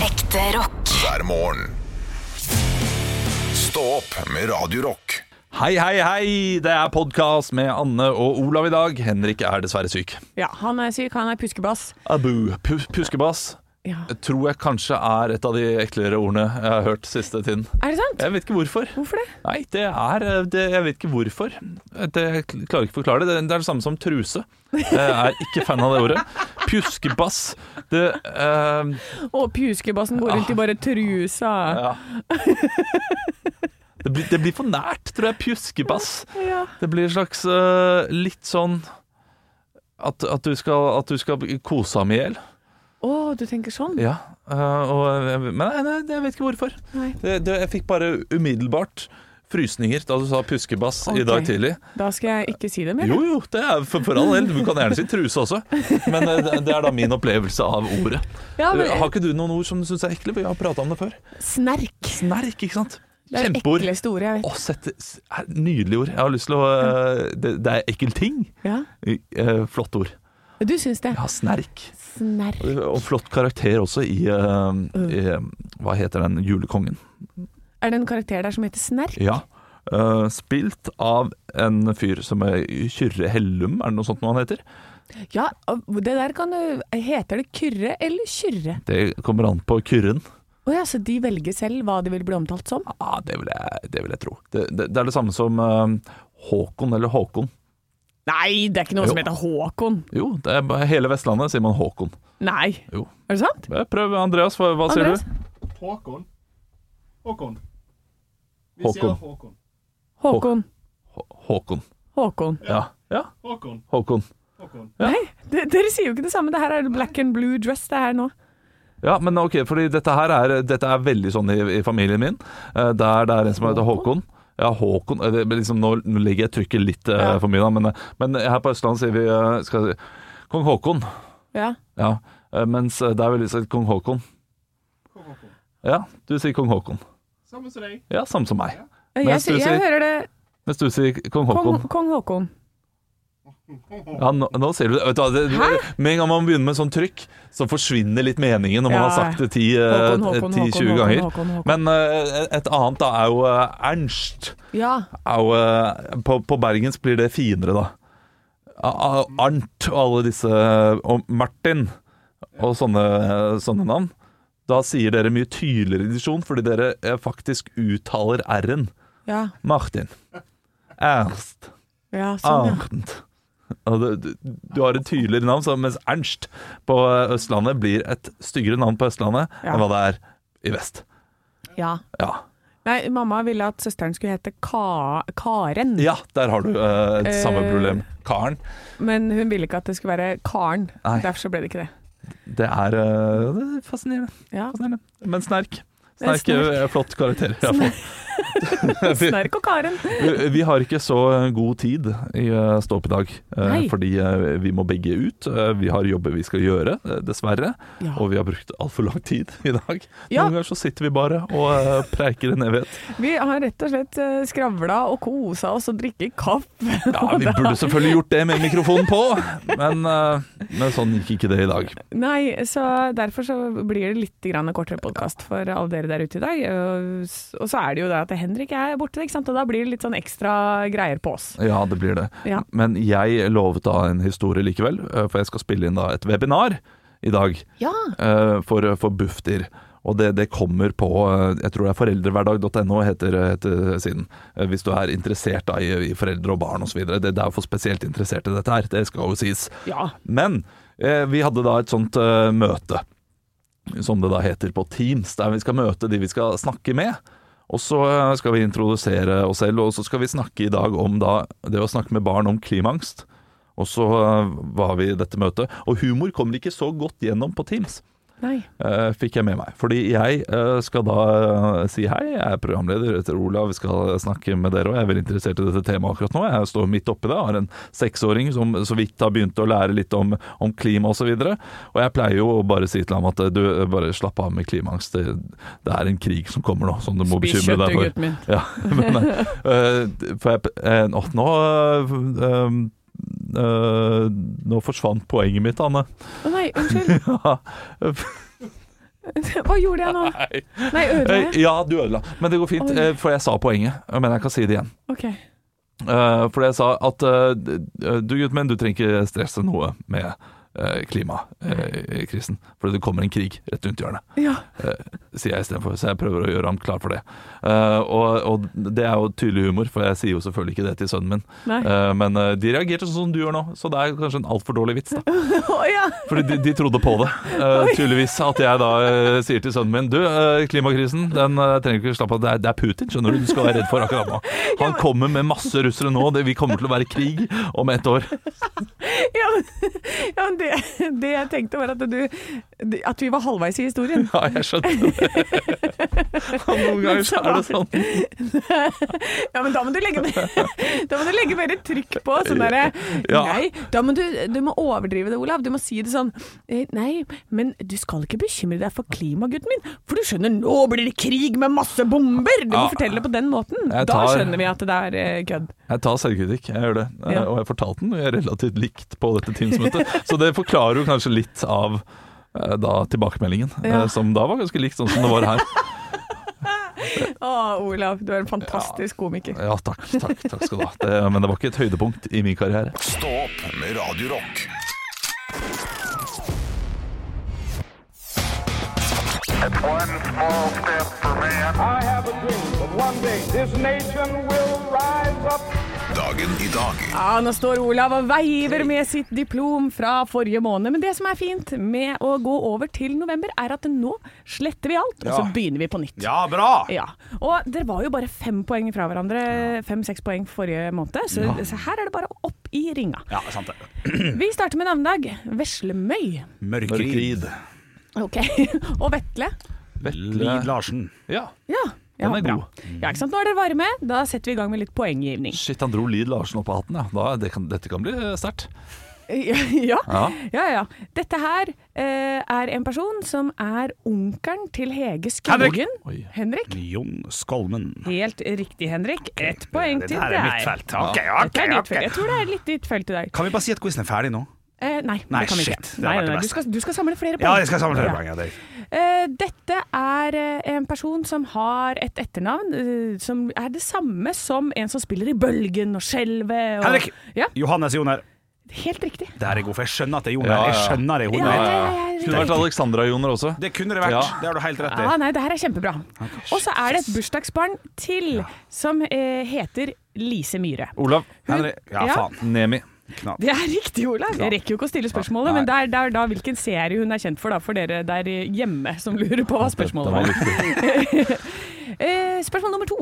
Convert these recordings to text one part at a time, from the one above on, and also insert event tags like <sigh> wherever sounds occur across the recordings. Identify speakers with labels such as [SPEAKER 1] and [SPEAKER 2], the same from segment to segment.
[SPEAKER 1] Ekte rock.
[SPEAKER 2] hver morgen. Stå opp med Radio Rock.
[SPEAKER 3] Hei, hei, hei! Det er podkast med Anne og Olav i dag. Henrik er dessverre syk.
[SPEAKER 4] Ja, han er syk, han er puskebass.
[SPEAKER 3] Abu. Pu puskebass
[SPEAKER 4] Ja.
[SPEAKER 3] tror jeg kanskje er et av de eklere ordene jeg har hørt siste tiden.
[SPEAKER 4] Er det sant?
[SPEAKER 3] Jeg vet ikke hvorfor.
[SPEAKER 4] Hvorfor det?
[SPEAKER 3] Nei, det er det, Jeg vet ikke hvorfor. Det, jeg klarer ikke å forklare det. Det er det samme som truse. Jeg er ikke fan av det ordet. Pjuskebass. Det eh,
[SPEAKER 4] Å, puskebassen går rundt i bare trusa.
[SPEAKER 3] Ja. Det blir, det blir for nært, tror jeg. Pjuskebass.
[SPEAKER 4] Ja.
[SPEAKER 3] Det blir en slags eh, litt sånn at, at, du skal, at du skal kose ham i hjel.
[SPEAKER 4] Å, du tenker sånn?
[SPEAKER 3] Ja. eh, og, men nei, nei, jeg vet ikke hvorfor.
[SPEAKER 4] Nei.
[SPEAKER 3] Det, det, jeg fikk bare umiddelbart frysninger da du sa puskebass
[SPEAKER 4] Ok.
[SPEAKER 3] i dag tidlig.
[SPEAKER 4] Da skal jeg ikke si det mer.
[SPEAKER 3] Jo jo, det er for, for all del. Du kan gjerne si truse også. Men eh, det, det er da min opplevelse av ordet.
[SPEAKER 4] Ja, men
[SPEAKER 3] har ikke du noen ord som du syns er ekle? Vi har prata om det før.
[SPEAKER 4] snerk.
[SPEAKER 3] Snerk, ikke sant?
[SPEAKER 4] Det er det
[SPEAKER 3] Kjempeord.
[SPEAKER 4] ekleste ordet jeg vet.
[SPEAKER 3] Å, sette, s- er- nydelig ord. Jeg har lyst til å eh, Det, det er ekkel ting.
[SPEAKER 4] Ja.
[SPEAKER 3] Eh, Flott ord.
[SPEAKER 4] Du syns det?
[SPEAKER 3] Ja, snerk.
[SPEAKER 4] Snerk.
[SPEAKER 3] Og flott karakter også i, eh, i eh, Hva heter den? Julekongen.
[SPEAKER 4] Er det en karakter der som heter Snerk?
[SPEAKER 3] Ja. Eh, spilt av en fyr som er Kyrre Hellum, er det noe sånt noe han heter?
[SPEAKER 4] Ja, og det der kan du Heter det Kyrre eller Kyrre?
[SPEAKER 3] Det kommer an på Kyrren.
[SPEAKER 4] Å ja, så de velger selv hva de vil bli omtalt som?
[SPEAKER 3] Ja, det vil jeg, det vil jeg tro. Det, det, det er det samme som eh, Håkon eller Håkon.
[SPEAKER 4] Nei, det er ikke noe
[SPEAKER 3] Jo.
[SPEAKER 4] som heter Håkon.
[SPEAKER 3] Jo, det er bare hele Vestlandet sier man Håkon.
[SPEAKER 4] Nei.
[SPEAKER 3] Jo.
[SPEAKER 4] Er det sant?
[SPEAKER 3] Eh, Prøv, Andreas. Hva, hva sier
[SPEAKER 4] Andreas?
[SPEAKER 3] du?
[SPEAKER 5] Håkon. Håkon. Vi
[SPEAKER 3] Håkon.
[SPEAKER 5] sier Håkon.
[SPEAKER 4] Håkon.
[SPEAKER 3] Hå- Håkon.
[SPEAKER 4] Håkon.
[SPEAKER 3] Ja. ja.
[SPEAKER 5] Håkon.
[SPEAKER 3] Håkon.
[SPEAKER 5] Håkon.
[SPEAKER 4] Nei, de, dere sier jo ikke det samme. Det her er black and blue dress det her nå.
[SPEAKER 3] Ja, men ok, fordi dette her er, dette er veldig sånn i, i familien min. Eh, Der det er en som heter Håkon. Ja, Håkon eh, det, blir liksom, Nå nå legger jeg trykket litt eh,
[SPEAKER 4] Ja.
[SPEAKER 3] for mye, da, men, eh, men her på Østlandet sier vi eh, skal, vi si, kong Håkon.
[SPEAKER 4] Ja.
[SPEAKER 3] Ja, eh, mens eh, der vil vi si kong Håkon.
[SPEAKER 5] Kong Håkon.
[SPEAKER 3] Ja, du sier kong Håkon.
[SPEAKER 5] Samme som deg.
[SPEAKER 3] Ja, samme som meg.
[SPEAKER 4] Jeg,
[SPEAKER 3] Mens du
[SPEAKER 4] sier- jeg
[SPEAKER 3] sier
[SPEAKER 4] hører det
[SPEAKER 3] Mens du sier kong
[SPEAKER 4] kong,
[SPEAKER 3] Håkon.
[SPEAKER 4] kong Håkon.
[SPEAKER 3] Ja, nå, nå sier du det. Vet du hva, det-
[SPEAKER 4] Hæ?
[SPEAKER 3] Med en gang man begynner med sånn trykk, så forsvinner litt meningen når man
[SPEAKER 4] Ja.
[SPEAKER 3] har sagt det
[SPEAKER 4] Håkon, Håkon, Håkon,
[SPEAKER 3] 10-20
[SPEAKER 4] Håkon,
[SPEAKER 3] Eh, ganger.
[SPEAKER 4] Håkon, Håkon.
[SPEAKER 3] Men eh, et annet da er jo eh, Ernst.
[SPEAKER 4] Ja.
[SPEAKER 3] Au, eh, på, på bergensk blir det finere, da. A- a- Arnt og alle disse eh, Og Martin og sånne, eh, sånne navn. Da sier dere mye tydeligere divisjon, fordi dere eh, faktisk uttaler r-en.
[SPEAKER 4] Ja.
[SPEAKER 3] Martin. Ernst.
[SPEAKER 4] ja sånn, ja.
[SPEAKER 3] Arnt. Og du, du, du har et tydeligere navn, så mens Ernst på eh, Østlandet blir et styggere navn på Østlandet
[SPEAKER 4] Ja.
[SPEAKER 3] enn hva det er i vest.
[SPEAKER 4] ja.
[SPEAKER 3] Ja,
[SPEAKER 4] Nei, mamma ville at søsteren skulle hete ka Karen,
[SPEAKER 3] ja der har du eh, et samme
[SPEAKER 4] Eh.
[SPEAKER 3] problem. Karen.
[SPEAKER 4] men hun ville ikke at det skulle være Karen.
[SPEAKER 3] Nei.
[SPEAKER 4] Derfor så ble det ikke det.
[SPEAKER 3] Det er, eh, det er fascinerende. <laughs>
[SPEAKER 4] Ja.
[SPEAKER 3] fascinerende. Men snerk.
[SPEAKER 4] Det er
[SPEAKER 3] Snerk eh, er flott karakter. i hvert fall. <laughs> vi,
[SPEAKER 4] Snerk og Karen.
[SPEAKER 3] vi har ikke så god tid i eh, Stå opp i dag, eh,
[SPEAKER 4] Nei.
[SPEAKER 3] fordi eh, vi må begge ut. Eh, Vi har jobber vi skal gjøre, eh, dessverre.
[SPEAKER 4] Ja.
[SPEAKER 3] Og vi har brukt altfor lang tid i dag.
[SPEAKER 4] Ja.
[SPEAKER 3] Noen ganger så sitter vi bare og eh, preiker en evighet.
[SPEAKER 4] Vi har rett og slett eh, skravla og kosa oss og drikket kaffe. <laughs>
[SPEAKER 3] Ja, vi burde selvfølgelig gjort det med mikrofonen på, men, eh, men sånn gikk ikke det i dag.
[SPEAKER 4] Nei, så derfor så blir det litt grann kortere podkast for alle dere der ute i dag. Og s- Og så er det jo det at Henrik er borte, ikke sant? og da blir det litt sånn ekstra greier på oss.
[SPEAKER 3] Ja, det blir det.
[SPEAKER 4] Ja.
[SPEAKER 3] Men jeg lovet da en historie likevel, eh, for jeg skal spille inn da et webinar i dag
[SPEAKER 4] Ja.
[SPEAKER 3] eh, for, for Bufdir. Og det, det kommer på eh, Jeg tror det er foreldrehverdag.no heter, heter siden. eh, Hvis du er interessert da i, i foreldre og barn osv. Det, det er jo for spesielt interesserte dette her, det skal jo sies.
[SPEAKER 4] Ja.
[SPEAKER 3] Men eh, vi hadde da et sånt eh, møte, som det da heter på Teams, der vi skal møte de vi skal snakke med. Og så eh, skal vi introdusere oss selv, og så skal vi snakke i dag om da, det å snakke med barn om klimaangst. Og så eh, var vi i dette møtet. Og humor kommer ikke så godt gjennom på Teams,
[SPEAKER 4] Nei.
[SPEAKER 3] eh, fikk jeg med meg. Fordi jeg eh, skal da eh, si hei, jeg er programleder, jeg heter Olav, vi skal snakke med dere, og jeg er veldig interessert i dette temaet akkurat nå. Jeg står midt oppi det, har en seksåring som så vidt har begynt å lære litt om, om klima osv. Og, så og jeg pleier jo å bare si til ham at eh, du, eh, bare slapp av med klimaangst, det, det er en krig som kommer nå, som du må bekymre
[SPEAKER 4] Spis kjøtt,
[SPEAKER 3] deg
[SPEAKER 4] du
[SPEAKER 3] for.
[SPEAKER 4] gutten min.
[SPEAKER 3] Ja, <laughs> men eh, for jeg, eh, nå, nå, eh, eh, <laughs> nå forsvant poenget mitt, Anne.
[SPEAKER 4] Å nei, unnskyld.
[SPEAKER 3] Ja.
[SPEAKER 4] <laughs> Hva gjorde jeg nå?
[SPEAKER 3] Nei.
[SPEAKER 4] Nei, ødela
[SPEAKER 3] Eh,
[SPEAKER 4] jeg?
[SPEAKER 3] Ja, du ødela. Men det går fint,
[SPEAKER 4] Oi.
[SPEAKER 3] eh, for jeg sa poenget. Men jeg kan si det igjen.
[SPEAKER 4] Ok.
[SPEAKER 3] Eh, For jeg sa at eh, d- eh, du gutt, men du trenger ikke stresse noe med eh, klimakrisen. For det kommer en krig rett rundt hjørnet.
[SPEAKER 4] Ja.
[SPEAKER 3] sier jeg istedenfor. Så jeg prøver å gjøre ham klar for det. Eh, og, og det er jo tydelig humor, for jeg sier jo selvfølgelig ikke det til sønnen min.
[SPEAKER 4] Nei.
[SPEAKER 3] Eh, men eh, de reagerte sånn som du gjør nå, så det er kanskje en altfor dårlig vits, da.
[SPEAKER 4] Å ja.
[SPEAKER 3] Fordi de, de trodde på det, eh, tydeligvis. At jeg da eh, sier til sønnen min Du, eh, klimakrisen, den eh, trenger du ikke slappe av. Det er, det er Putin, skjønner du. Du skal være redd for akkurat
[SPEAKER 4] <laughs>
[SPEAKER 3] nå. Han kommer med masse russere nå. Det, vi kommer til å være i krig om ett år. <laughs>
[SPEAKER 4] Ja, men, <laughs> ja, men det, det jeg tenkte var at du At vi var halvveis i historien.
[SPEAKER 3] Ja, jeg
[SPEAKER 4] <laughs>
[SPEAKER 3] skjønte det. Noen ganger så er det sånn.
[SPEAKER 4] Ja, men da må du legge, <laughs> da må du legge mer trykk på. Sånn derre
[SPEAKER 3] Ja.
[SPEAKER 4] Nei, da må du, du må overdrive det, Olav. Du må si det sånn eh, Nei, men du skal ikke bekymre deg for klimaet, gutten min. For du skjønner, nå blir det krig med masse bomber! Du må
[SPEAKER 3] Ja.
[SPEAKER 4] fortelle det på den måten.
[SPEAKER 3] Jeg
[SPEAKER 4] Da
[SPEAKER 3] tar-
[SPEAKER 4] skjønner vi at det er eh, kødd.
[SPEAKER 3] Jeg tar selvkritikk, jeg gjør det. Eh,
[SPEAKER 4] Ja.
[SPEAKER 3] Og jeg fortalte den jeg er relativt likt på dette Teams-møtet, så det forklarer jo kanskje litt av eh, da tilbakemeldingen, eh,
[SPEAKER 4] Ja.
[SPEAKER 3] som da var ganske likt sånn som det var her.
[SPEAKER 4] Å, Olav, du er en fantastisk komiker.
[SPEAKER 3] Ja, takk, takk, takk skal du ha. Det, men det var ikke et høydepunkt i min karriere.
[SPEAKER 2] Stå opp med Radio Rock.
[SPEAKER 1] One small step for man.
[SPEAKER 6] I have a dream that one day this nation will rise up.
[SPEAKER 2] Dagen i dag
[SPEAKER 4] Ja, Ah, Nå står Olav og veiver med sitt diplom fra forrige måned. Men det som er fint med å gå over til november, er at nå sletter vi alt, og så begynner vi på nytt. Ja, bra! Og dere var jo bare fem poeng fra hverandre. Fem-seks poeng forrige måned, så, så her er det bare opp i ringa.
[SPEAKER 7] Ja, sant det.
[SPEAKER 4] Vi starter med navnedag. Veslemøy.
[SPEAKER 7] Mørkrid.
[SPEAKER 3] Mørkrid.
[SPEAKER 4] Ok. <laughs> og Vetle.
[SPEAKER 7] Liv Larsen.
[SPEAKER 3] Ja.
[SPEAKER 4] Ja. Ja,
[SPEAKER 3] Den er
[SPEAKER 4] bra.
[SPEAKER 3] god.
[SPEAKER 4] Ja, ikke sant? Nå er dere varme. Da setter vi i gang med litt poenggivning.
[SPEAKER 3] Shit, han dro Lid Larsen opp av hatten, ja. Da, det kan, dette kan bli eh, sterkt.
[SPEAKER 4] <laughs> ja.
[SPEAKER 3] Ja.
[SPEAKER 4] Ja, ja. Dette her eh, er en person som er onkelen til Hege
[SPEAKER 7] Henrik!
[SPEAKER 4] Skogen.
[SPEAKER 3] Oi.
[SPEAKER 4] Henrik.
[SPEAKER 7] Jon Skolmen.
[SPEAKER 4] Helt riktig, Henrik. Ett poeng til
[SPEAKER 7] Det her
[SPEAKER 4] deg.
[SPEAKER 7] er mitt felt. Ok,
[SPEAKER 4] Dette er ditt
[SPEAKER 7] ok,
[SPEAKER 4] felt. Jeg
[SPEAKER 7] ok.
[SPEAKER 4] tror det er litt ditt felt i dag.
[SPEAKER 7] Kan vi bare si at quizen er ferdig nå?
[SPEAKER 4] Eh, nei,
[SPEAKER 7] Nei,
[SPEAKER 4] det kan vi
[SPEAKER 7] shit.
[SPEAKER 4] ikke.
[SPEAKER 7] Det hadde
[SPEAKER 4] Nei,
[SPEAKER 7] vært det
[SPEAKER 4] nei, du,
[SPEAKER 7] beste.
[SPEAKER 4] skal, du skal samle flere poeng.
[SPEAKER 7] Ja, jeg skal samle flere
[SPEAKER 4] Ja.
[SPEAKER 7] poeng. ja, det-
[SPEAKER 4] Eh, dette er eh, en person som har et etternavn eh, som er det samme som en som spiller i Bølgen og Skjelvet. og-
[SPEAKER 7] Henrik!
[SPEAKER 4] Ja,
[SPEAKER 7] Johannes Joner.
[SPEAKER 4] helt riktig.
[SPEAKER 7] Det her er god, for jeg skjønner at det
[SPEAKER 3] Ja,
[SPEAKER 7] er Joner. Jeg
[SPEAKER 3] ja.
[SPEAKER 7] skjønner det
[SPEAKER 4] Ja,
[SPEAKER 7] er
[SPEAKER 4] ja,
[SPEAKER 7] Joner.
[SPEAKER 4] ja, ja,
[SPEAKER 3] Kunne vært Alexandra Joner også.
[SPEAKER 7] Det kunne det vært.
[SPEAKER 3] Ja.
[SPEAKER 7] Det har du helt rett i.
[SPEAKER 4] Ja, Ah, nei, det her er kjempebra. Og så er det et bursdagsbarn til som eh, heter Lise Myhre.
[SPEAKER 3] Olav.
[SPEAKER 7] Henrik. Ja,
[SPEAKER 4] Ja.
[SPEAKER 7] faen.
[SPEAKER 3] Nemi.
[SPEAKER 7] Knapp.
[SPEAKER 4] Det er riktig, Olav. Jeg rekker jo ikke å stille spørsmålet, men det er, det er da hvilken serie hun er kjent for, da, for dere der hjemme som lurer på
[SPEAKER 3] Den
[SPEAKER 4] hva
[SPEAKER 3] var
[SPEAKER 4] spørsmålet er.
[SPEAKER 7] <laughs>
[SPEAKER 3] viktig.
[SPEAKER 4] Eh, spørsmål nummer to.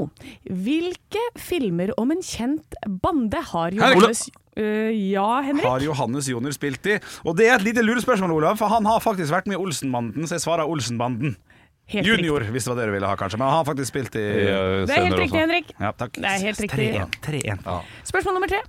[SPEAKER 4] Hvilke filmer om en kjent bande har Johannes Eh, Ja, Henrik?
[SPEAKER 7] Har Johannes Joner spilt i? Og det er et lite lurespørsmål, Olav, for han har faktisk vært med i Olsenbanden, så jeg svarer Olsenbanden.
[SPEAKER 4] Helt
[SPEAKER 7] Junior, hvis det var det du ville ha, kanskje. Men han har faktisk spilt i
[SPEAKER 3] Eh,
[SPEAKER 4] riktig. Det er
[SPEAKER 3] senere
[SPEAKER 4] helt
[SPEAKER 3] også.
[SPEAKER 4] riktig, Henrik.
[SPEAKER 7] Ja, takk.
[SPEAKER 4] Det er helt riktig.
[SPEAKER 7] 3-1. 3-1.
[SPEAKER 4] Spørsmål nummer tre.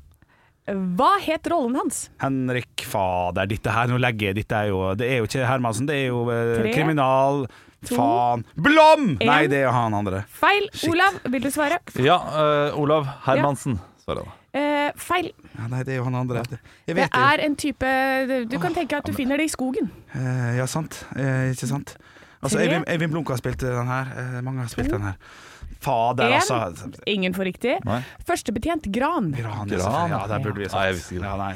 [SPEAKER 4] Hva het rollen hans?
[SPEAKER 7] Henrik Fader, dette her, nå legger jeg Dette er jo Det er jo ikke Hermansen, det er jo eh,
[SPEAKER 4] Tre,
[SPEAKER 7] kriminal Faen Blom!
[SPEAKER 4] en.
[SPEAKER 7] Nei, det er han andre.
[SPEAKER 4] Feil. Olav, vil du svare?
[SPEAKER 3] Ja, eh, Olav Hermansen, svarer jeg da.
[SPEAKER 4] Eh, feil.
[SPEAKER 7] Ja, nei, det er jo han andre. Jeg
[SPEAKER 4] Det
[SPEAKER 7] vet det.
[SPEAKER 4] er en type Du kan tenke at du finner det i skogen.
[SPEAKER 7] Eh, ja, sant. Eh, ikke sant? Altså,
[SPEAKER 4] Tre.
[SPEAKER 7] Eivind, Eivind Blunk har spilt den her. Eh, mange har spilt den her. Fader,
[SPEAKER 4] En.
[SPEAKER 7] altså.
[SPEAKER 4] Ingen får riktig.
[SPEAKER 3] Nei.
[SPEAKER 4] Førstebetjent Gran.
[SPEAKER 3] Gran.
[SPEAKER 7] Gran. selvfølgelig. altså. Ja, der burde vi
[SPEAKER 3] Nei, jeg visste ikke det.
[SPEAKER 7] Ja, nei.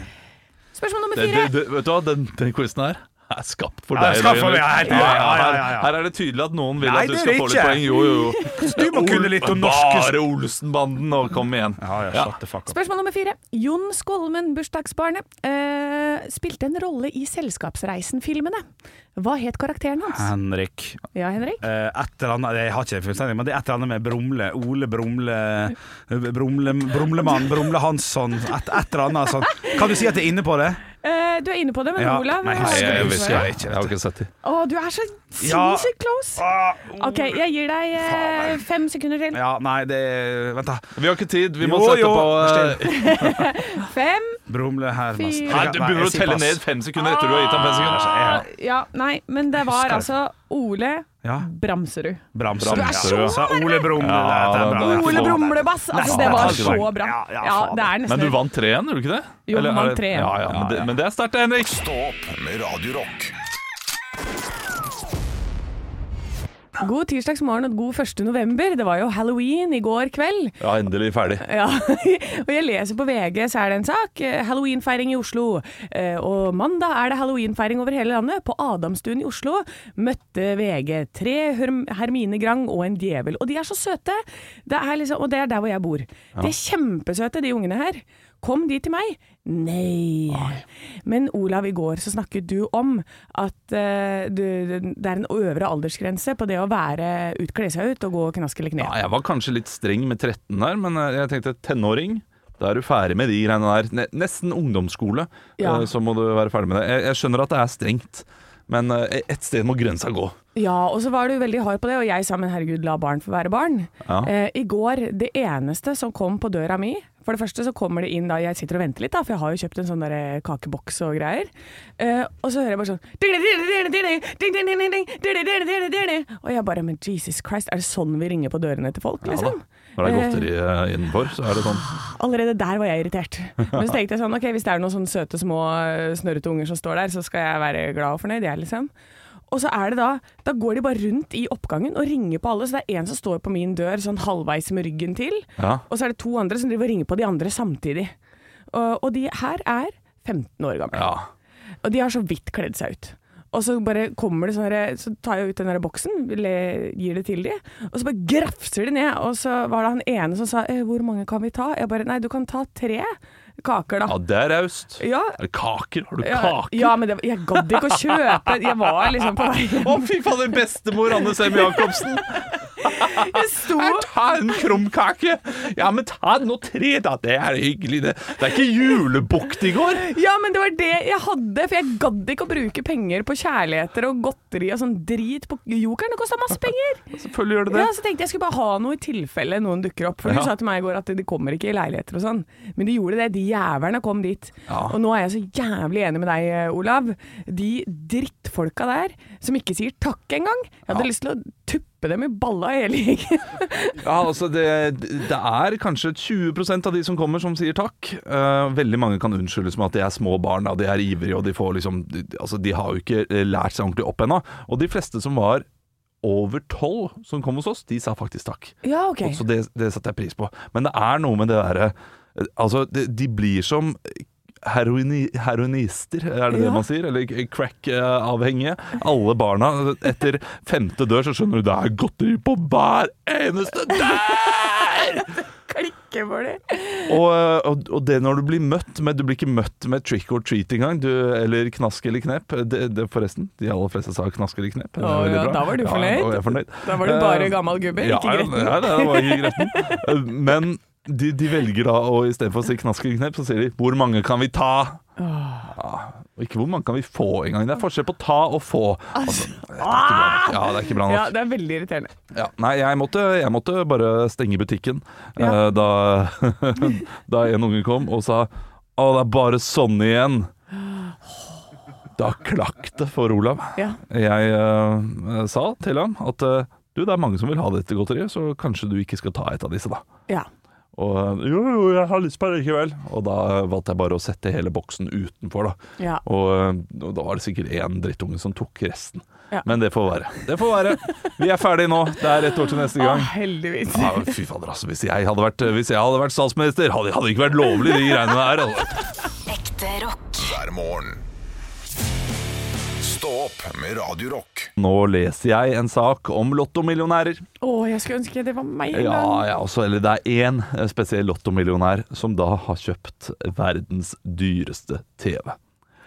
[SPEAKER 4] Spørsmål nummer
[SPEAKER 3] Det, det,
[SPEAKER 4] fire.
[SPEAKER 3] det, vet du hva, den, den quizen her er skapt for
[SPEAKER 7] Ja,
[SPEAKER 3] deg.
[SPEAKER 7] skapt for
[SPEAKER 3] Røyner.
[SPEAKER 7] meg, ja, helt- ja, ja, ja, ja, ja.
[SPEAKER 3] Her, her er det tydelig at noen vil
[SPEAKER 7] Nei,
[SPEAKER 3] at du
[SPEAKER 7] det er
[SPEAKER 3] skal få litt
[SPEAKER 7] ikke.
[SPEAKER 3] poeng. Jo, jo, jo.
[SPEAKER 7] Du
[SPEAKER 3] <laughs>
[SPEAKER 7] må kunne litt om norsk
[SPEAKER 3] Bare Olsenbanden, og kom igjen.
[SPEAKER 7] Ja, ja, shut the fuck up.
[SPEAKER 4] Spørsmål nummer fire. Jon Skolmen, bursdagsbarnet, eh, spilte en rolle i Selskapsreisen-filmene. Hva het karakteren hans?
[SPEAKER 7] Henrik.
[SPEAKER 4] Ja, Henrik?
[SPEAKER 7] Eh, et eller annet Jeg har ikke det fullstendig, men det er et eller annet med Brumle. Ole Brumle Brumle Brumlemann. Brumle Hansson. Et, et eller annet sånn. Kan du si at jeg er inne på det?
[SPEAKER 4] Eh, du er inne på det, men
[SPEAKER 7] Ja,
[SPEAKER 4] Olav
[SPEAKER 7] nei,
[SPEAKER 4] har
[SPEAKER 7] jeg-
[SPEAKER 4] ikke
[SPEAKER 7] jeg
[SPEAKER 4] noe
[SPEAKER 7] visste
[SPEAKER 4] svar.
[SPEAKER 7] det.
[SPEAKER 3] Jeg har ikke sett dem.
[SPEAKER 4] Å, du er så
[SPEAKER 7] Ja.
[SPEAKER 4] sinnssykt close!
[SPEAKER 7] Ah,
[SPEAKER 4] OK, jeg gir deg eh, fem sekunder til.
[SPEAKER 7] Ja, nei, det er- Vent, da.
[SPEAKER 3] Vi har ikke tid. Vi må
[SPEAKER 7] Jo,
[SPEAKER 3] sette
[SPEAKER 7] jo,
[SPEAKER 3] på eh,
[SPEAKER 4] Fem
[SPEAKER 7] Brumle Hermansen.
[SPEAKER 4] Fy-
[SPEAKER 3] Nei, Du begynner
[SPEAKER 7] jeg
[SPEAKER 3] å
[SPEAKER 7] sier
[SPEAKER 3] telle
[SPEAKER 7] pass.
[SPEAKER 3] ned fem sekunder etter du har gitt ham fem sekunder.
[SPEAKER 7] Ja,
[SPEAKER 4] Ja, nei, men det var
[SPEAKER 7] husker
[SPEAKER 4] altså Ole
[SPEAKER 7] Ja.
[SPEAKER 4] Bramserud.
[SPEAKER 7] Bramsen.
[SPEAKER 3] Du er så
[SPEAKER 7] Ja. Så Ole Brumle.
[SPEAKER 3] Ja,
[SPEAKER 7] det er bra.
[SPEAKER 3] det er
[SPEAKER 4] Ole Brumlebass! Altså, det var
[SPEAKER 3] Nesten.
[SPEAKER 4] så bra.
[SPEAKER 7] Ja, ja,
[SPEAKER 4] Ja,
[SPEAKER 7] faen.
[SPEAKER 4] det er nesten
[SPEAKER 3] Men du vant 3-1, gjorde du ikke det?
[SPEAKER 4] Jo,
[SPEAKER 3] Eller er
[SPEAKER 4] vant
[SPEAKER 3] det-
[SPEAKER 4] 3-1.
[SPEAKER 3] Ja, ja, men, det, men det er sterkt, Henrik.
[SPEAKER 2] Stå opp med Radio Rock.
[SPEAKER 4] God tirsdagsmorgen og god 1. november. Det var jo halloween i går kveld.
[SPEAKER 3] Ja, endelig ferdig.
[SPEAKER 4] <laughs> Ja, og jeg leser på VG, så er det en sak. eh, Halloweenfeiring i Oslo. Eh, Og mandag er det halloweenfeiring over hele landet. På Adamstuen i Oslo møtte VG tre Herm- Hermine Grang og en djevel. Og de er så søte! Det er liksom, og det er der hvor jeg bor. De er kjempesøte, de ungene her. Kom de til meg? Nei. Men Olav, i går så snakket du om at eh, du, det er en øvre aldersgrense på det å være ut, kle seg ut og gå knask eller kne.
[SPEAKER 3] Ja, jeg var kanskje litt streng med 13 der, men eh, jeg tenkte tenåring. Da er du ferdig med de greiene der. Ne- Nesten ungdomsskole,
[SPEAKER 4] Ja.
[SPEAKER 3] eh, så må du være ferdig med det. Jeg, jeg skjønner at det er strengt, men eh, et sted må grensa gå.
[SPEAKER 4] Ja, og så var du veldig hard på det, og jeg sa men herregud, la barn få være barn.
[SPEAKER 3] Ja.
[SPEAKER 4] Eh, I går, det eneste som kom på døra mi For det første så kommer det inn da jeg sitter og venter litt, da, for jeg har jo kjøpt en sånn der eh, kakeboks og greier. Eh, og så hører jeg bare sånn Og jeg bare Men Jesus Christ, er det sånn vi ringer på dørene til folk,
[SPEAKER 3] Ja da.
[SPEAKER 4] liksom?
[SPEAKER 3] Når det er
[SPEAKER 4] Eh,
[SPEAKER 3] godteri eh, innenfor, så er det sånn.
[SPEAKER 4] Allerede der var jeg irritert. Men så tenkte jeg sånn, ok, hvis det er noen sånne søte små eh, snørrete unger som står der, så skal jeg være glad og fornøyd, jeg liksom. Og så er det da, da går de bare rundt i oppgangen og ringer på alle, så det er en som står på min dør sånn halvveis med ryggen til,
[SPEAKER 3] Ja.
[SPEAKER 4] og så er det to andre som driver og ringer på de andre samtidig. Og, og de her er 15 år gamle.
[SPEAKER 3] ja.
[SPEAKER 4] Og de har så vidt kledd seg ut. Og så bare kommer det sånn her- Så tar jeg ut den der boksen, le- gir det til de, og så bare grafser de ned. Og så var det han ene som sa eh, 'Hvor mange kan vi ta?' Jeg bare 'Nei, du kan ta tre kaker, da'.
[SPEAKER 3] ja, det er raust.
[SPEAKER 4] Ja,
[SPEAKER 3] Er det kaker? Har du
[SPEAKER 4] ja,
[SPEAKER 3] kaker?
[SPEAKER 4] ja men det, jeg gadd ikke å kjøpe. Jeg var liksom på vei
[SPEAKER 3] Å, fy fader, bestemor Anne Sem Jacobsen!
[SPEAKER 4] Jeg sto
[SPEAKER 3] Her, ta en krumkake! Ja, men ta nå tre, da! Det er hyggelig, det. Det er ikke julebukt i går!
[SPEAKER 4] Ja, men det var det jeg hadde, for jeg gadd ikke å bruke penger på kjærligheter og godteri og sånn drit på jokeren. Det kosta masse penger.
[SPEAKER 3] Selvfølgelig gjør det det.
[SPEAKER 4] Ja, så tenkte jeg skulle bare ha noe i tilfelle noen dukker opp. For
[SPEAKER 3] Ja.
[SPEAKER 4] du sa til meg i går at de kommer ikke i leiligheter og sånn. Men de gjorde det. De jævlene kom dit.
[SPEAKER 3] Ja.
[SPEAKER 4] Og nå er jeg så jævlig enig med deg, eh, Olav. De drittfolka der som ikke sier takk engang. Jeg hadde lyst til å tuppe dem i balla hele
[SPEAKER 3] <laughs>
[SPEAKER 4] gjengen.
[SPEAKER 3] Ja, altså det, det er kanskje 20 av de som kommer som sier takk. Eh, veldig mange kan unnskyldes med at de er små barn, og de er ivrige og de, får liksom, de, altså de har jo ikke lært seg ordentlig opp ennå. Og de fleste som var over tolv som kom hos oss, de sa faktisk takk.
[SPEAKER 4] Ja, ok.
[SPEAKER 3] Og Så det, det setter jeg pris på. Men det er noe med det derre eh, Altså, de, de blir som heroini, heroinister, er det
[SPEAKER 4] Ja.
[SPEAKER 3] det man sier? Eller k- crack-avhengige. Alle barna. Etter femte dør så skjønner du det er godteri på hver eneste
[SPEAKER 4] <laughs>
[SPEAKER 3] dør!
[SPEAKER 4] Klikke for det.
[SPEAKER 3] Og, eh, og, og det når du blir møtt med Du blir ikke møtt med trick or treat engang, du, eller knask eller knep. Det, det, forresten, de aller fleste sa knask eller knep. Det er
[SPEAKER 4] Å,
[SPEAKER 3] veldig
[SPEAKER 4] ja,
[SPEAKER 3] bra.
[SPEAKER 4] da var du fornøyd.
[SPEAKER 3] da var jeg fornøyd.
[SPEAKER 4] Da var du bare
[SPEAKER 3] Eh,
[SPEAKER 4] gammel gubbe,
[SPEAKER 3] ja,
[SPEAKER 4] ikke
[SPEAKER 3] Ja,
[SPEAKER 4] gretten.
[SPEAKER 3] ja, det var ikke gretten. <laughs> Men de, de velger da å istedenfor å si knask eller knep, så sier de 'hvor mange kan vi ta'? Ja, og ikke 'hvor mange kan vi få' engang. Det er forskjell på ta og få. Altså, det er ikke bra nok. Ja, det er ikke bra nok.
[SPEAKER 4] ah! Ja, det er veldig irriterende.
[SPEAKER 3] Ja, nei, jeg måtte, jeg måtte bare stenge butikken
[SPEAKER 4] Ja.
[SPEAKER 3] eh, da, <laughs> da en unge kom og sa Å, det er bare sånn igjen. Da klakk det for Olav.
[SPEAKER 4] Ja.
[SPEAKER 3] Jeg eh, sa til ham at eh, du, det er mange som vil ha dette godteriet, så kanskje du ikke skal ta et av disse, da.
[SPEAKER 4] ja.
[SPEAKER 3] Og eh, jo, jo, jeg har lyst på det likevel. Og da valgte jeg bare å sette hele boksen utenfor, da.
[SPEAKER 4] Ja.
[SPEAKER 3] Og, eh, og da var det sikkert én drittunge som tok resten.
[SPEAKER 4] Ja.
[SPEAKER 3] Men det får være. Det får være. Vi er ferdige nå. Det er ett år til neste
[SPEAKER 4] Å,
[SPEAKER 3] gang.
[SPEAKER 4] Ah, heldigvis.
[SPEAKER 3] Ja, men fy fader, altså. Hvis jeg hadde vært, hvis jeg hadde vært statsminister, hadde hadde det ikke vært lovlig, de greiene der. Altså.
[SPEAKER 8] Ekte rock.
[SPEAKER 2] hver morgen. Stå opp med Radio Rock.
[SPEAKER 3] Nå leser jeg en sak om lottomillionærer.
[SPEAKER 4] Å, jeg skulle ønske det var meg en gang.
[SPEAKER 3] Ja, ja, også, eller det er én spesiell lottomillionær som da har kjøpt verdens dyreste TV.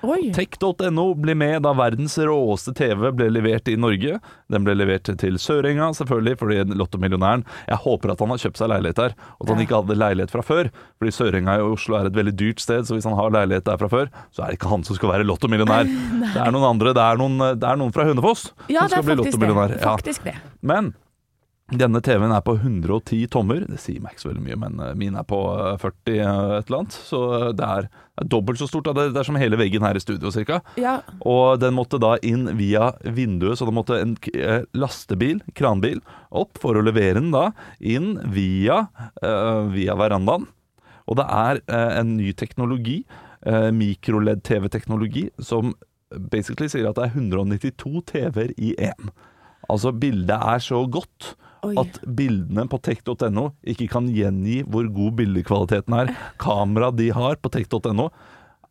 [SPEAKER 4] Oi.
[SPEAKER 3] Tech.no blir med da verdens råeste TV ble levert i Norge. Den ble levert til Sørenga, selvfølgelig, fordi lottomillionæren Jeg håper at han har kjøpt seg leilighet der, og at han ikke hadde leilighet fra før. Fordi Sørenga i Oslo er et veldig dyrt sted, så hvis han har leilighet der fra før, så er det ikke han som skal være
[SPEAKER 4] <laughs>
[SPEAKER 3] lottomillionær. Det er noen andre. Det er noen, det er noen fra Hønefoss
[SPEAKER 4] Ja,
[SPEAKER 3] som skal bli
[SPEAKER 4] det er faktisk det.
[SPEAKER 3] lottomillionær. Ja.
[SPEAKER 4] Faktisk det.
[SPEAKER 3] Men denne TV-en er på 110 tommer. Det sier meg ikke så veldig mye, men eh, min er på eh, 40 eh, et eller annet. Så eh, det er, det er dobbelt så stort. da. Det, det er som hele veggen her i studio, cirka.
[SPEAKER 4] Ja.
[SPEAKER 3] Og den måtte da inn via vinduet, så det måtte en k- eh, lastebil, kranbil, opp for å levere den da inn via, eh, via verandaen. Og det er eh, en ny teknologi, eh, mikroled-TV-teknologi, som basically sier at det er 192 TV-er i én. Altså, bildet er så godt
[SPEAKER 4] Oi.
[SPEAKER 3] at bildene på tech.no ikke kan gjengi hvor god bildekvaliteten er. Kameraet de har på tech.no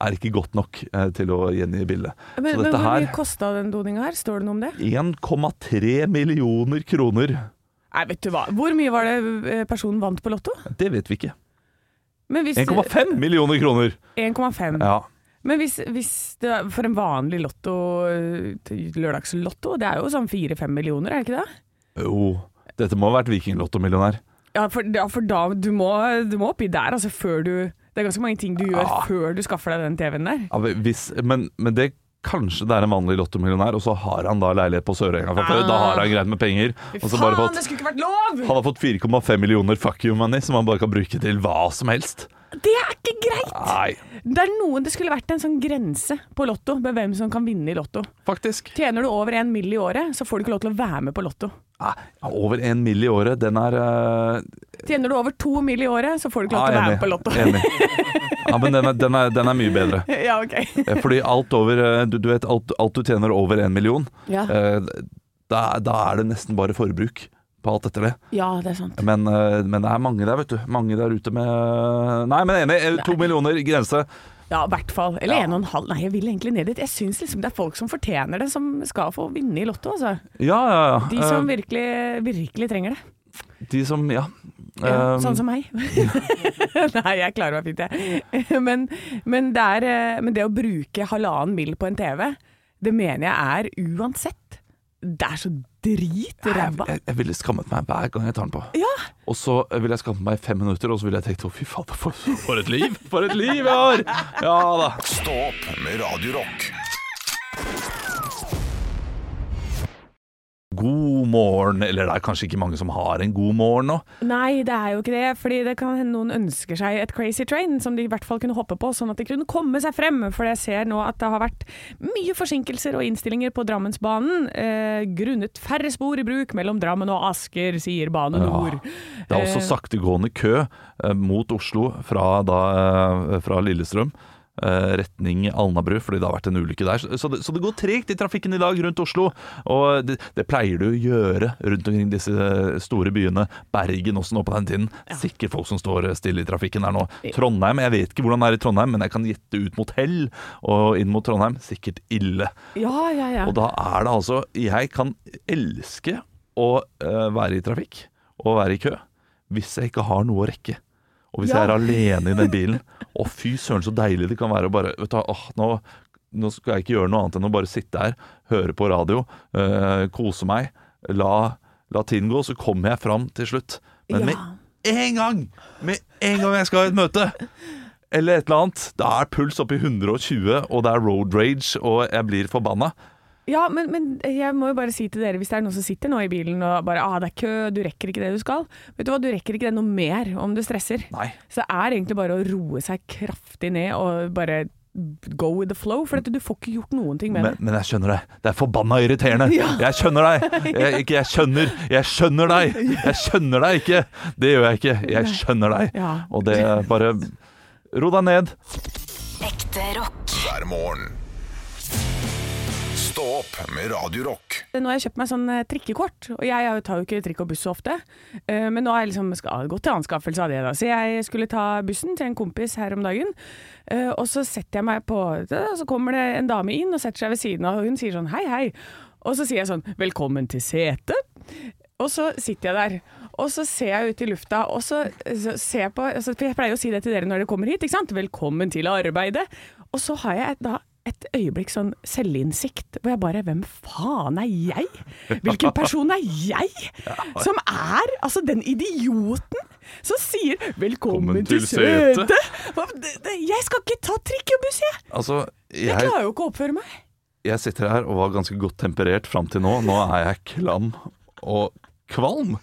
[SPEAKER 3] er ikke godt nok eh, til å gjengi bildet.
[SPEAKER 4] Men,
[SPEAKER 3] så
[SPEAKER 4] men
[SPEAKER 3] dette
[SPEAKER 4] hvor
[SPEAKER 3] her
[SPEAKER 4] mye kosta den doninga her? Står det noe om det?
[SPEAKER 3] 1,3 millioner kroner.
[SPEAKER 4] Nei, vet du hva. Hvor mye var det eh, personen vant på Lotto?
[SPEAKER 3] Det vet vi ikke.
[SPEAKER 4] Men hvis-
[SPEAKER 3] 1,5 millioner kroner!
[SPEAKER 4] 1,5.
[SPEAKER 3] Ja.
[SPEAKER 4] Men hvis, hvis det er for en vanlig lotto, eh, lørdagslotto, det er jo sånn 4-5 millioner, er det ikke det?
[SPEAKER 3] Jo, dette må ha vært vikinglottomillionær.
[SPEAKER 4] Ja, for, ja, for da, du må, du må oppi der, altså før du Det er ganske mange ting du gjør
[SPEAKER 3] Ja.
[SPEAKER 4] før du skaffer deg den TV-en der.
[SPEAKER 3] Ja, men hvis, men, men det Kanskje det er en vanlig lottomillionær, og så har han da leilighet på Sørenga fra før. Da har han greit med penger. Og så bare fått,
[SPEAKER 4] Ah. det skulle ikke vært lov!
[SPEAKER 3] han har fått 4,5 millioner fuck you money som han bare kan bruke til hva som helst.
[SPEAKER 4] Det er ikke greit!
[SPEAKER 3] Nei,
[SPEAKER 4] Det er noen det skulle vært en sånn grense på lotto med hvem som kan vinne i lotto.
[SPEAKER 3] faktisk.
[SPEAKER 4] Tjener du over en mill i året, så får du ikke lov til å være med på lotto.
[SPEAKER 3] Nei, Ah, over en mill i året, den er eh,
[SPEAKER 4] Tjener du over to mill i året, så får du ikke lov
[SPEAKER 3] ja,
[SPEAKER 4] til å
[SPEAKER 3] enig.
[SPEAKER 4] være med på lotto.
[SPEAKER 3] Enig. Ja, men den er, den er, den er mye bedre.
[SPEAKER 4] <laughs> ja, ok.
[SPEAKER 3] Eh, Fordi alt over eh, Du, du vet, alt, alt du tjener over en million,
[SPEAKER 4] Ja.
[SPEAKER 3] eh, da, da er det nesten bare forbruk på alt etter det.
[SPEAKER 4] ja, det er sant.
[SPEAKER 3] Men, eh, men det er mange der, vet du. Mange der ute med Nei, men enig. eh, To millioner, grense.
[SPEAKER 4] Ja, i hvert fall. Eller en og en halv. Nei, jeg vil egentlig ned dit. Jeg syns liksom det er folk som fortjener det, som skal få vinne i Lotto, altså.
[SPEAKER 3] Ja, ja, ja.
[SPEAKER 4] De som
[SPEAKER 3] Eh,
[SPEAKER 4] virkelig, virkelig trenger det.
[SPEAKER 3] de som ja.
[SPEAKER 4] Ja,
[SPEAKER 3] Eh,
[SPEAKER 4] sånn som
[SPEAKER 3] <laughs>
[SPEAKER 4] meg. <laughs> Nei, jeg klarer meg fint, jeg. <laughs> Men, men, det er, eh, men det å bruke halvannen mill på en TV, det mener jeg er uansett Det er så drit ræva.
[SPEAKER 3] jeg, jeg ville skammet meg hver gang jeg tar den på.
[SPEAKER 4] Ja.
[SPEAKER 3] Og så ville jeg skammet meg i fem minutter, og så ville jeg tenkt å fy fader, for, for et liv! <laughs> For et liv jeg har! Ja da.
[SPEAKER 2] Stå opp med Radio Rock.
[SPEAKER 3] God morgen, eller det er kanskje ikke mange som har en god morgen nå.
[SPEAKER 4] Nei, det er jo ikke det. Fordi det kan hende noen ønsker seg et crazy train som de i hvert fall kunne hoppe på, sånn at de kunne komme seg frem. For jeg ser nå at det har vært mye forsinkelser og innstillinger på Drammensbanen eh, grunnet færre spor i bruk mellom Drammen og Asker, sier Bane Nor.
[SPEAKER 3] Det er også saktegående kø eh, mot Oslo fra, da, eh, fra Lillestrøm. eh, Retning Alnabru, fordi det har vært en ulykke der. Så- Så det, så det går tregt i trafikken i dag rundt Oslo. Og det, det pleier det å gjøre rundt omkring disse eh, store byene. Bergen også nå på den tiden. Sikkert folk som står eh, stille i trafikken der nå. Trondheim, jeg vet ikke hvordan det er i Trondheim, men jeg kan gjette ut mot Hell og inn mot Trondheim. Sikkert ille.
[SPEAKER 4] Ja, ja, ja.
[SPEAKER 3] Og da er det altså Jeg kan elske å eh, være i trafikk og være i kø hvis jeg ikke har noe å rekke. Og hvis jeg er
[SPEAKER 4] Ja.
[SPEAKER 3] alene i den bilen. <laughs> Å, fy søren, så deilig det kan være å bare vet du, hva, åh, nå, nå skal jeg ikke gjøre noe annet enn å bare sitte her, høre på radio, eh, kose meg. La, la tiden gå, så kommer jeg fram til slutt. Men
[SPEAKER 4] Ja.
[SPEAKER 3] med en gang! Med en gang jeg skal ha et møte! Eller et eller annet. Da er puls oppe i 120, og det er road rage, og jeg blir forbanna.
[SPEAKER 4] Ja, men, men jeg må jo bare si til dere, hvis det er noen som sitter nå i bilen og bare ah, det er kø, du rekker ikke det du skal. Vet du hva, du rekker ikke det noe mer om du stresser.
[SPEAKER 3] Nei.
[SPEAKER 4] Så det er egentlig bare å roe seg kraftig ned og bare go with the flow, for at du får ikke gjort noen ting med
[SPEAKER 3] Men, men jeg skjønner deg. Det er forbanna irriterende. Jeg skjønner deg. Jeg, ikke jeg skjønner. Jeg skjønner deg. Jeg skjønner deg ikke. Det gjør jeg ikke. Jeg skjønner deg.
[SPEAKER 4] Ja.
[SPEAKER 3] Og det er bare Ro deg ned.
[SPEAKER 8] Ekte rock.
[SPEAKER 2] hver morgen. Stå opp med Radio Rock.
[SPEAKER 4] det. Nå har jeg kjøpt meg sånn eh, trikkekort, og jeg er jo- tar jo ikke trikk og buss så ofte. Eh, Men nå har jeg liksom skal- gått til anskaffelse av det, da. Så jeg skulle ta bussen til en kompis her om dagen, eh, og så setter jeg meg på det, og så kommer det en dame inn og setter seg ved siden av, og hun sier sånn hei, hei. Og så sier jeg sånn velkommen til setet. Og så sitter jeg der, og så ser jeg ut i lufta, og så, så ser jeg på altså, For jeg pleier jo å si det til dere når dere kommer hit, ikke sant? Velkommen til arbeidet. Og så har jeg da et øyeblikk sånn selvinnsikt, hvor jeg bare Hvem faen er jeg? Hvilken person er
[SPEAKER 3] <laughs>
[SPEAKER 4] jeg? Som er altså den idioten som sier 'velkommen
[SPEAKER 3] Velkommen
[SPEAKER 4] til
[SPEAKER 3] til
[SPEAKER 4] søte'.
[SPEAKER 3] setet.
[SPEAKER 4] Hva- det- det- Jeg skal ikke ta trikk og buss, jeg!
[SPEAKER 3] Altså,
[SPEAKER 4] Jeg
[SPEAKER 3] jeg,
[SPEAKER 4] klarer jo ikke å oppføre meg. <laughs>
[SPEAKER 3] jeg sitter her og var ganske godt temperert fram til nå. Nå er jeg klam og kvalm.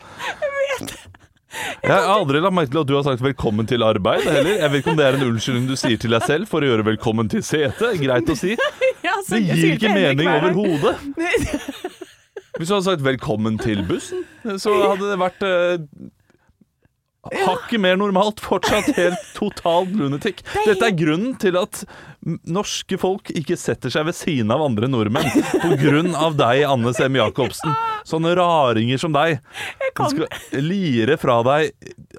[SPEAKER 3] Jeg har aldri lagt merke til at du har sagt 'velkommen til arbeid' heller. Jeg vet ikke om det er en unnskyldning du sier til deg selv for å gjøre 'velkommen til setet'. Greit å si.
[SPEAKER 4] Ja, altså,
[SPEAKER 3] Det
[SPEAKER 4] jeg
[SPEAKER 3] gir
[SPEAKER 4] sier til
[SPEAKER 3] ikke
[SPEAKER 4] Henrik
[SPEAKER 3] mening
[SPEAKER 4] hver dag.
[SPEAKER 3] overhodet. Hvis du hadde sagt 'velkommen til bussen', så hadde det vært eh, hakket mer normalt, fortsatt helt total lunatic. Dette er grunnen til at m- norske folk ikke setter seg ved siden av andre nordmenn. På grunn av deg, Anne Sem Jacobsen. Sånne raringer som deg.
[SPEAKER 4] kan-
[SPEAKER 3] Som skal lire fra deg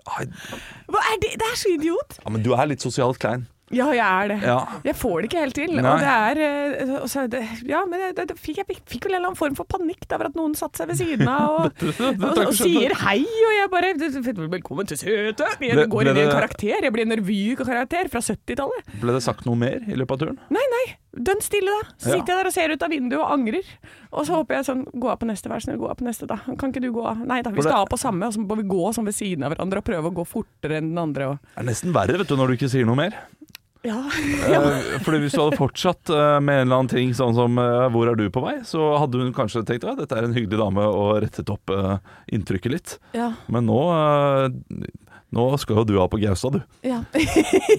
[SPEAKER 3] Ai,
[SPEAKER 4] <laughs> Hva er det? det er så idiot!
[SPEAKER 3] Ja, men du er litt sosialt klein.
[SPEAKER 4] Ja, jeg er det.
[SPEAKER 3] Ja.
[SPEAKER 4] Jeg får det ikke helt til.
[SPEAKER 3] Nei.
[SPEAKER 4] Og det er eh, og så er det, Ja, men det, det, fikk, jeg fikk, fikk vel en eller annen form for panikk da, for at noen satte seg ved siden av
[SPEAKER 3] <laughs>
[SPEAKER 4] og, og, og,
[SPEAKER 3] sånn.
[SPEAKER 4] sier hei, og jeg bare "Det- det- Velkommen til søte!
[SPEAKER 3] Ble-
[SPEAKER 4] Jeg går
[SPEAKER 3] ble
[SPEAKER 4] inn i en
[SPEAKER 3] det-
[SPEAKER 4] karakter. Jeg blir en revykarakter fra 70-tallet.
[SPEAKER 3] Ble det sagt noe mer i løpet av turen?
[SPEAKER 4] Nei, nei, dønn stille, da. Så
[SPEAKER 3] Ja.
[SPEAKER 4] sitter jeg der og ser ut av vinduet og angrer. Og så håper jeg sånn Gå av på neste, vær så snill. Gå av på neste, da. Kan ikke du gå av? Nei da, vi
[SPEAKER 3] det-
[SPEAKER 4] skal av på samme, og så må vi gå sånn ved siden av hverandre og prøve å gå fortere enn den andre og
[SPEAKER 3] Det er nesten verre vet du, når du ikke sier noe mer.
[SPEAKER 4] Ja.
[SPEAKER 3] Eh, Fordi Hvis du hadde fortsatt eh, med en eller annen ting sånn som eh, 'hvor er du på vei', så hadde hun kanskje tenkt at dette er en hyggelig dame og rettet opp eh, inntrykket litt.
[SPEAKER 4] ja.
[SPEAKER 3] Men nå, eh, nå skal jo du av på Gaustad, du.
[SPEAKER 4] Ja. <laughs> ja, det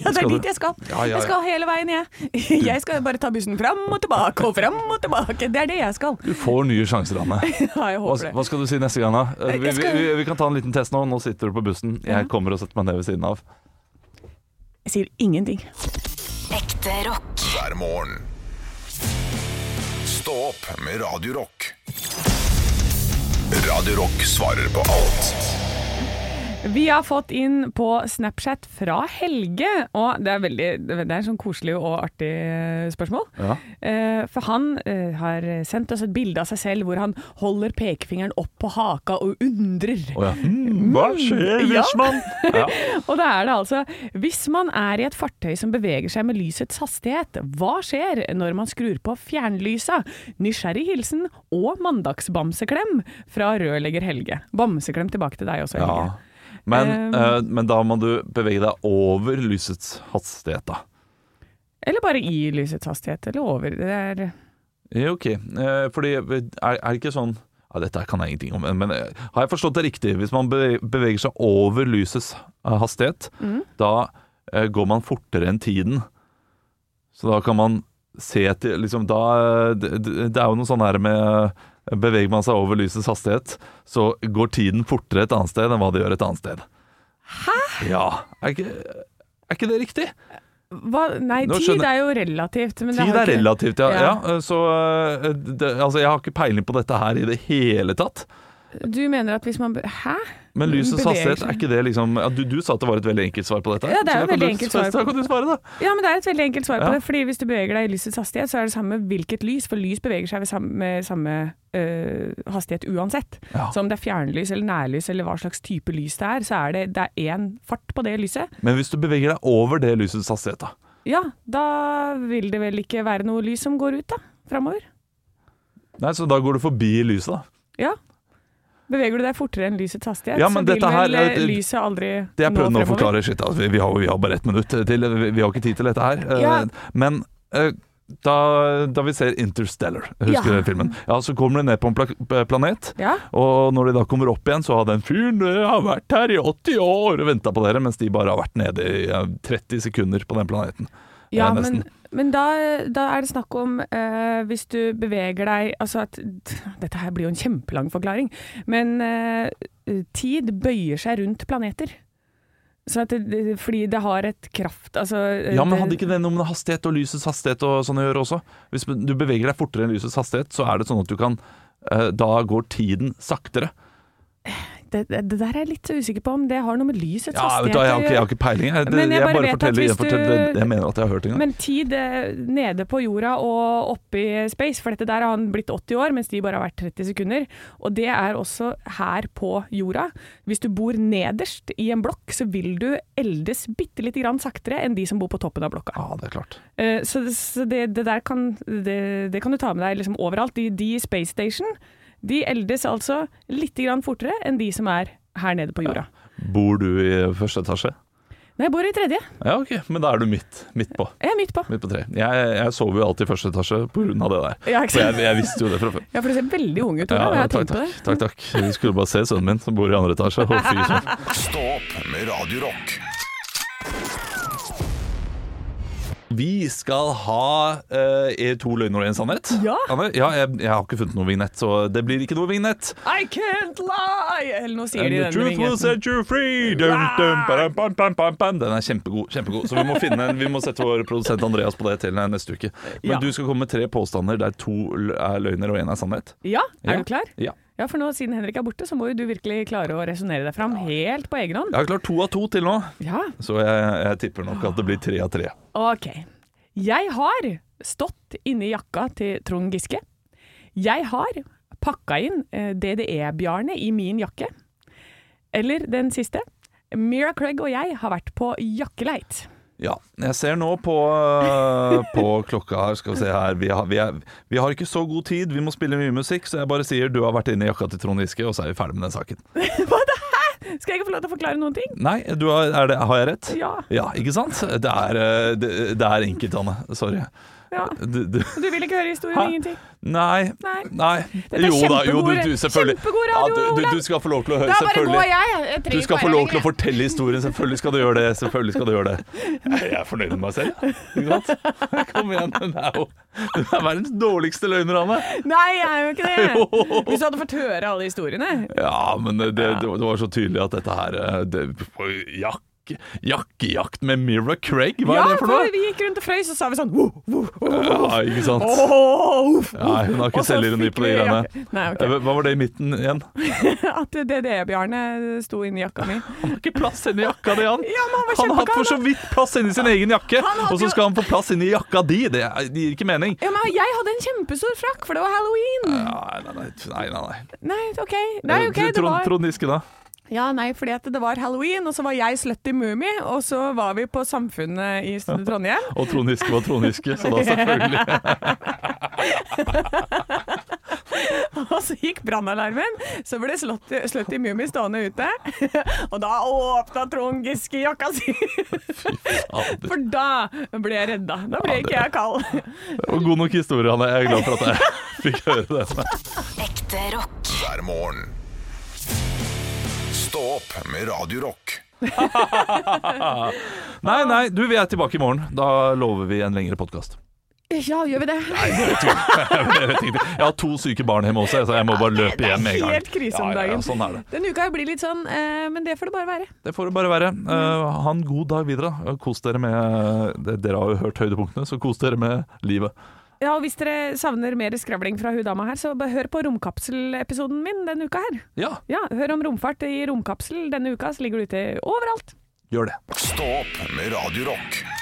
[SPEAKER 4] er
[SPEAKER 3] Skal du?
[SPEAKER 4] dit jeg skal.
[SPEAKER 3] Ja, ja, ja.
[SPEAKER 4] Jeg skal hele veien, jeg. Jeg skal bare ta bussen fram og tilbake og fram og tilbake. Det er det jeg skal.
[SPEAKER 3] Du får nye sjanser, Anne.
[SPEAKER 4] <laughs> Ja, jeg
[SPEAKER 3] Hva,
[SPEAKER 4] håper det.
[SPEAKER 3] hva skal du si neste gang, da? Eh, Vi,
[SPEAKER 4] Jeg
[SPEAKER 3] vi,
[SPEAKER 4] skal-
[SPEAKER 3] vi, vi kan ta en liten test nå. Nå sitter du på bussen. Jeg kommer og setter meg ned ved siden av.
[SPEAKER 4] Jeg sier ingenting.
[SPEAKER 8] Ekte rock.
[SPEAKER 2] hver morgen. Stå opp med Radio Rock. Radio Rock svarer på alt
[SPEAKER 4] Vi har fått inn på Snapchat fra Helge, og det er veldig Det er en sånn koselig og artig eh, spørsmål.
[SPEAKER 3] Ja.
[SPEAKER 4] Eh, For han eh, har sendt oss et bilde av seg selv hvor han holder pekefingeren opp på haka og undrer.
[SPEAKER 3] Å ja. Hmm, hva skjer
[SPEAKER 4] Mm. Ja.
[SPEAKER 3] hvis man ja.
[SPEAKER 4] <laughs> Og da er det altså Hvis man er i et fartøy som beveger seg med lysets hastighet, hva skjer når man skrur på fjernlysa? Nysgjerrig hilsen og mandagsbamseklem fra rørlegger Helge. Bamseklem tilbake til deg også,
[SPEAKER 3] ja.
[SPEAKER 4] Helge.
[SPEAKER 3] Men,
[SPEAKER 4] <laughs> Eh,
[SPEAKER 3] eh, men da må du bevege deg over lysets hastighet, da.
[SPEAKER 4] Eller bare i lysets hastighet, eller over. Det er
[SPEAKER 3] Ja, ok. Eh, fordi er, er det ikke sånn ja, Dette her kan jeg ingenting om, men- men eh, har jeg forstått det riktig? Hvis man beve- beveger seg over lysets eh, hastighet, da eh, går man fortere enn tiden. Så da kan man se til liksom, da, eh, det, det det er jo noe sånn her med eh, Beveger man seg over lysets hastighet, så går tiden fortere et annet sted enn hva det gjør et annet sted. Hæ? Ja. Er ikke, er ikke det riktig?
[SPEAKER 4] hva, Nei,
[SPEAKER 3] Nå
[SPEAKER 4] tid
[SPEAKER 3] skjønner-
[SPEAKER 4] er jo relativt. Men det
[SPEAKER 3] Tid er
[SPEAKER 4] ikke-
[SPEAKER 3] relativt, ja. ja.
[SPEAKER 4] Ja.
[SPEAKER 3] eh, så eh, det, altså, jeg har ikke peiling på dette her i det hele tatt.
[SPEAKER 4] Du mener at hvis man be- Hæ?
[SPEAKER 3] Men lysets
[SPEAKER 4] Mm, Beveger
[SPEAKER 3] hastighet,
[SPEAKER 4] seg.
[SPEAKER 3] er ikke det liksom ja, du, du sa at det var et veldig enkelt svar på dette. her.
[SPEAKER 4] Ja, det
[SPEAKER 3] Så
[SPEAKER 4] er
[SPEAKER 3] da
[SPEAKER 4] jo
[SPEAKER 3] kan
[SPEAKER 4] veldig
[SPEAKER 3] du-
[SPEAKER 4] enkelt svar
[SPEAKER 3] så Da
[SPEAKER 4] på-
[SPEAKER 3] kan du svare, da.
[SPEAKER 4] Ja, men det er et veldig enkelt svar på
[SPEAKER 3] Ja.
[SPEAKER 4] det. Fordi hvis du beveger deg i lysets hastighet, så er det samme hvilket lys, for lys beveger seg ved samme, med samme øh, hastighet uansett.
[SPEAKER 3] Ja.
[SPEAKER 4] Så om det er fjernlys eller nærlys eller hva slags type lys det er, så er det, det er én fart på det lyset.
[SPEAKER 3] Men hvis du beveger deg over det lysets hastighet, da.
[SPEAKER 4] Ja, da vil det vel ikke være noe lys som går ut, da. Framover.
[SPEAKER 3] Nei, så da går du forbi lyset, da.
[SPEAKER 4] Ja. Beveger du deg fortere enn lysets hastighet,
[SPEAKER 3] Ja, men
[SPEAKER 4] så vil
[SPEAKER 3] dette her
[SPEAKER 4] vel
[SPEAKER 3] er-
[SPEAKER 4] eh, lyset aldri
[SPEAKER 3] Det jeg
[SPEAKER 4] nå
[SPEAKER 3] prøvde nå å
[SPEAKER 4] fremover.
[SPEAKER 3] forklare, shit, altså, vi, vi, har, vi har bare ett minutt til, vi, vi har ikke tid til dette her. Eh,
[SPEAKER 4] Ja.
[SPEAKER 3] Men eh, da, da vi ser Interstellar, husker
[SPEAKER 4] Ja.
[SPEAKER 3] dere filmen? Ja, så kommer de ned på en pla planet,
[SPEAKER 4] Ja.
[SPEAKER 3] og når de da kommer opp igjen, så har den fyren eh, har vært her i 80 år og venta på dere, mens de bare har vært nede i eh, 30 sekunder på den planeten.
[SPEAKER 4] Ja,
[SPEAKER 3] Eh,
[SPEAKER 4] men,
[SPEAKER 3] nesten.
[SPEAKER 4] men da, da er det snakk om eh, hvis du beveger deg Altså at Dette her blir jo en kjempelang forklaring, men eh, tid bøyer seg rundt planeter. Så at det, det, fordi det har et kraft Altså eh,
[SPEAKER 3] Ja, men
[SPEAKER 4] det-
[SPEAKER 3] hadde ikke det noe med hastighet og lysets hastighet og sånn å gjøre også? Hvis du beveger deg fortere enn lysets hastighet, så er det sånn at du kan eh, Da går tiden saktere.
[SPEAKER 4] det, det, det der er jeg litt usikker på om det har noe med lysets
[SPEAKER 3] Ja, vet
[SPEAKER 4] hastighet
[SPEAKER 3] du, hva, jeg,
[SPEAKER 4] å
[SPEAKER 3] har ikke, jeg har ikke peiling. Jeg, det,
[SPEAKER 4] Men
[SPEAKER 3] jeg,
[SPEAKER 4] jeg bare
[SPEAKER 3] bare
[SPEAKER 4] vet at
[SPEAKER 3] forteller, jeg
[SPEAKER 4] hvis du-
[SPEAKER 3] forteller det det jeg mener at jeg har hørt en gang.
[SPEAKER 4] Men tid eh, nede på jorda og oppe i space, for dette der har han blitt 80 år, mens de bare har vært 30 sekunder. Og det er også her på jorda. Hvis du bor nederst i en blokk, så vil du eldes bitte lite grann saktere enn de som bor på toppen av blokka.
[SPEAKER 3] Ja, det er klart.
[SPEAKER 4] Eh, Så, så det, det der kan, det, det kan du ta med deg liksom overalt. De, de i Space Station de eldes altså litt grann fortere enn de som er her nede på jorda.
[SPEAKER 3] Bor du i første etasje?
[SPEAKER 4] Nei, jeg bor i tredje.
[SPEAKER 3] Ja, ok, men da er du midt, midt på.
[SPEAKER 4] Jeg er midt på.
[SPEAKER 3] Midt på tre. Jeg, jeg sover jo alltid i første etasje på grunn av det der.
[SPEAKER 4] Ja, ikke
[SPEAKER 3] Så jeg,
[SPEAKER 4] sant?
[SPEAKER 3] jeg visste jo det fra før.
[SPEAKER 4] Ja, for du ser veldig ung ut, Olav. jeg har
[SPEAKER 3] takk,
[SPEAKER 4] tenkt på det.
[SPEAKER 3] takk, takk, takk. Du skulle bare se sønnen min som bor i andre etasje. Å, fy søren.
[SPEAKER 4] <laughs>
[SPEAKER 2] Stå opp med Radio Rock
[SPEAKER 3] Vi skal ha eh, to løgner og en sannhet.
[SPEAKER 4] Ja.
[SPEAKER 3] Anne, ja jeg, jeg har ikke funnet noe vignett, så det blir ikke noe vignett.
[SPEAKER 4] I can't lie! Eller nå sier
[SPEAKER 3] And
[SPEAKER 4] de
[SPEAKER 3] the
[SPEAKER 4] denne
[SPEAKER 3] truth will
[SPEAKER 4] vignetten.
[SPEAKER 3] set you free. Dum, dum, ba-dum, bam, bam, bam, bam. Den er kjempegod. kjempegod Så vi må finne en Vi må sette vår produsent Andreas på det til neste uke. Men
[SPEAKER 4] Ja.
[SPEAKER 3] du skal komme med tre påstander der to l- er løgner og én er sannhet.
[SPEAKER 4] Ja, er
[SPEAKER 3] Ja.
[SPEAKER 4] du klar?
[SPEAKER 3] Ja.
[SPEAKER 4] Ja, for nå siden Henrik er borte, så må jo du virkelig klare å resonnere deg fram helt på egen hånd.
[SPEAKER 3] Jeg har klart to av to til nå,
[SPEAKER 4] Ja,
[SPEAKER 3] så jeg, jeg tipper nok at det blir tre av tre.
[SPEAKER 4] ok. Jeg har stått inne i jakka til Trond Giske. Jeg har pakka inn eh, DDE-Bjarne i min jakke. Eller den siste. Mira Craig og jeg har vært på jakkeleit. <laughs>
[SPEAKER 3] Ja. Jeg ser nå på, øh, på klokka her, skal vi se her vi har, vi, er, vi har ikke så god tid, vi må spille mye musikk, så jeg bare sier du har vært inne i jakka til Trond Giske, og så er vi ferdig med den saken.
[SPEAKER 4] Hva det her? Skal jeg ikke få lov til å forklare noen ting?
[SPEAKER 3] Nei, du har, er det, har jeg rett?
[SPEAKER 4] Ja.
[SPEAKER 3] Ja, ikke sant? Det er, eh, det, det er enkelt, Anne. Sorry.
[SPEAKER 4] Ja.
[SPEAKER 3] Du, du.
[SPEAKER 4] Du vil ikke høre historien?
[SPEAKER 3] Hæ?
[SPEAKER 4] Ingenting?
[SPEAKER 3] Nei.
[SPEAKER 4] Nei.
[SPEAKER 3] Nei.
[SPEAKER 4] Dette er
[SPEAKER 3] Jo da, jo, du,
[SPEAKER 4] kjempegod-
[SPEAKER 3] du, selvfølgelig.
[SPEAKER 4] kjempegod radio,
[SPEAKER 3] ja, du, du,
[SPEAKER 4] Olav.
[SPEAKER 3] du skal få lov til å høre,
[SPEAKER 4] Da bare går
[SPEAKER 3] selvfølgelig.
[SPEAKER 4] jeg. jeg
[SPEAKER 3] Du
[SPEAKER 4] trenger
[SPEAKER 3] skal
[SPEAKER 4] ikke
[SPEAKER 3] få
[SPEAKER 4] være
[SPEAKER 3] lov til å
[SPEAKER 4] lenger.
[SPEAKER 3] fortelle historien. Selvfølgelig skal du gjøre det. Selvfølgelig skal du gjøre det. Jeg er fornøyd med meg selv. Ikke sant? <laughs> Kom igjen. Det er jo Du er verdens dårligste løgner, Anne.
[SPEAKER 4] Nei, jeg er jo ikke det.
[SPEAKER 3] <laughs> Jo.
[SPEAKER 4] Hvis du hadde fått høre alle historiene.
[SPEAKER 3] Ja, men det, det, det var så tydelig at dette her eh, det, Jakke, jakkejakt med Mira Craig, hva
[SPEAKER 4] ja,
[SPEAKER 3] er det for noe?
[SPEAKER 4] vi gikk rundt og frøys, og så sa vi sånn «Wo, wo, wo, wo,
[SPEAKER 3] Ja, ikke sant?
[SPEAKER 4] wo, wo, <laughs> wo».
[SPEAKER 3] Nei, hun har
[SPEAKER 4] Og
[SPEAKER 3] ikke
[SPEAKER 4] så
[SPEAKER 3] selvironi
[SPEAKER 4] fikk
[SPEAKER 3] på de
[SPEAKER 4] vi
[SPEAKER 3] greiene.
[SPEAKER 4] jakke. Nei, ok.
[SPEAKER 3] Eh, Hva var det i midten igjen?
[SPEAKER 4] At DDE-Bjarne sto inni jakka mi.
[SPEAKER 3] Han har ikke plass inni jakka di, han!
[SPEAKER 4] Ja, men han var
[SPEAKER 3] <laughs> han har hatt for så
[SPEAKER 4] kjempekald,
[SPEAKER 3] vidt plass inni sin egen jakke,
[SPEAKER 4] Han hadde
[SPEAKER 3] og så
[SPEAKER 4] jo-
[SPEAKER 3] skal han få plass inni jakka di! Det er- det gir ikke mening.
[SPEAKER 4] Ja, men jeg hadde en kjempestor frakk, for det var halloween.
[SPEAKER 3] Nei, nei, nei. nei, nei, nei.
[SPEAKER 4] Nei, OK. Nei,
[SPEAKER 3] Eh,
[SPEAKER 4] ok, det
[SPEAKER 3] Trond,
[SPEAKER 4] var,
[SPEAKER 3] Trond Giske, da?
[SPEAKER 4] ja, nei, fordi at det var halloween, og så var jeg slutty mumie, og så var vi på Samfunnet i
[SPEAKER 3] <laughs>
[SPEAKER 4] Trondheim.
[SPEAKER 3] Og Trond Giske var Trond Giske, så da
[SPEAKER 4] <laughs>
[SPEAKER 3] selvfølgelig.
[SPEAKER 4] Og så gikk brannalarmen, så ble Slutty Slutty Mummi stående ute. <laughs> Og da åpna Trond Giske jakka si,
[SPEAKER 3] Fader.
[SPEAKER 4] for da ble jeg redda. Da ble ikke jeg kald. <laughs>
[SPEAKER 3] Det var god nok historie, Hanne. Jeg er glad for at jeg <laughs> fikk høre det.
[SPEAKER 8] Ekte rock.
[SPEAKER 2] hver morgen. Stå opp med Radio Rock.
[SPEAKER 3] Nei, nei, du, vi er tilbake i morgen. Da lover vi en lengre podkast.
[SPEAKER 4] Ja, gjør vi det?
[SPEAKER 3] <laughs> Jeg har to syke barn hjemme også, så jeg må bare løpe hjem med en gang.
[SPEAKER 4] Helt krise om
[SPEAKER 3] Ja, ja, ja,
[SPEAKER 4] dagen.
[SPEAKER 3] sånn er det.
[SPEAKER 4] Denne uka blir litt sånn, eh, men det får det bare være.
[SPEAKER 3] Det får det bare være.
[SPEAKER 4] Mm.
[SPEAKER 3] Eh, ha en god dag videre. da. Kos dere med det- Dere har jo hørt høydepunktene, så kos dere med livet.
[SPEAKER 4] Ja, og Hvis dere savner mer skravling fra hun dama her, så bare hør på romkapselepisoden min denne uka her.
[SPEAKER 3] Ja,
[SPEAKER 4] Ja, Hør om romfart i romkapsel denne uka, så ligger det ute overalt.
[SPEAKER 3] gjør det.
[SPEAKER 2] Stå opp med Radio Rock.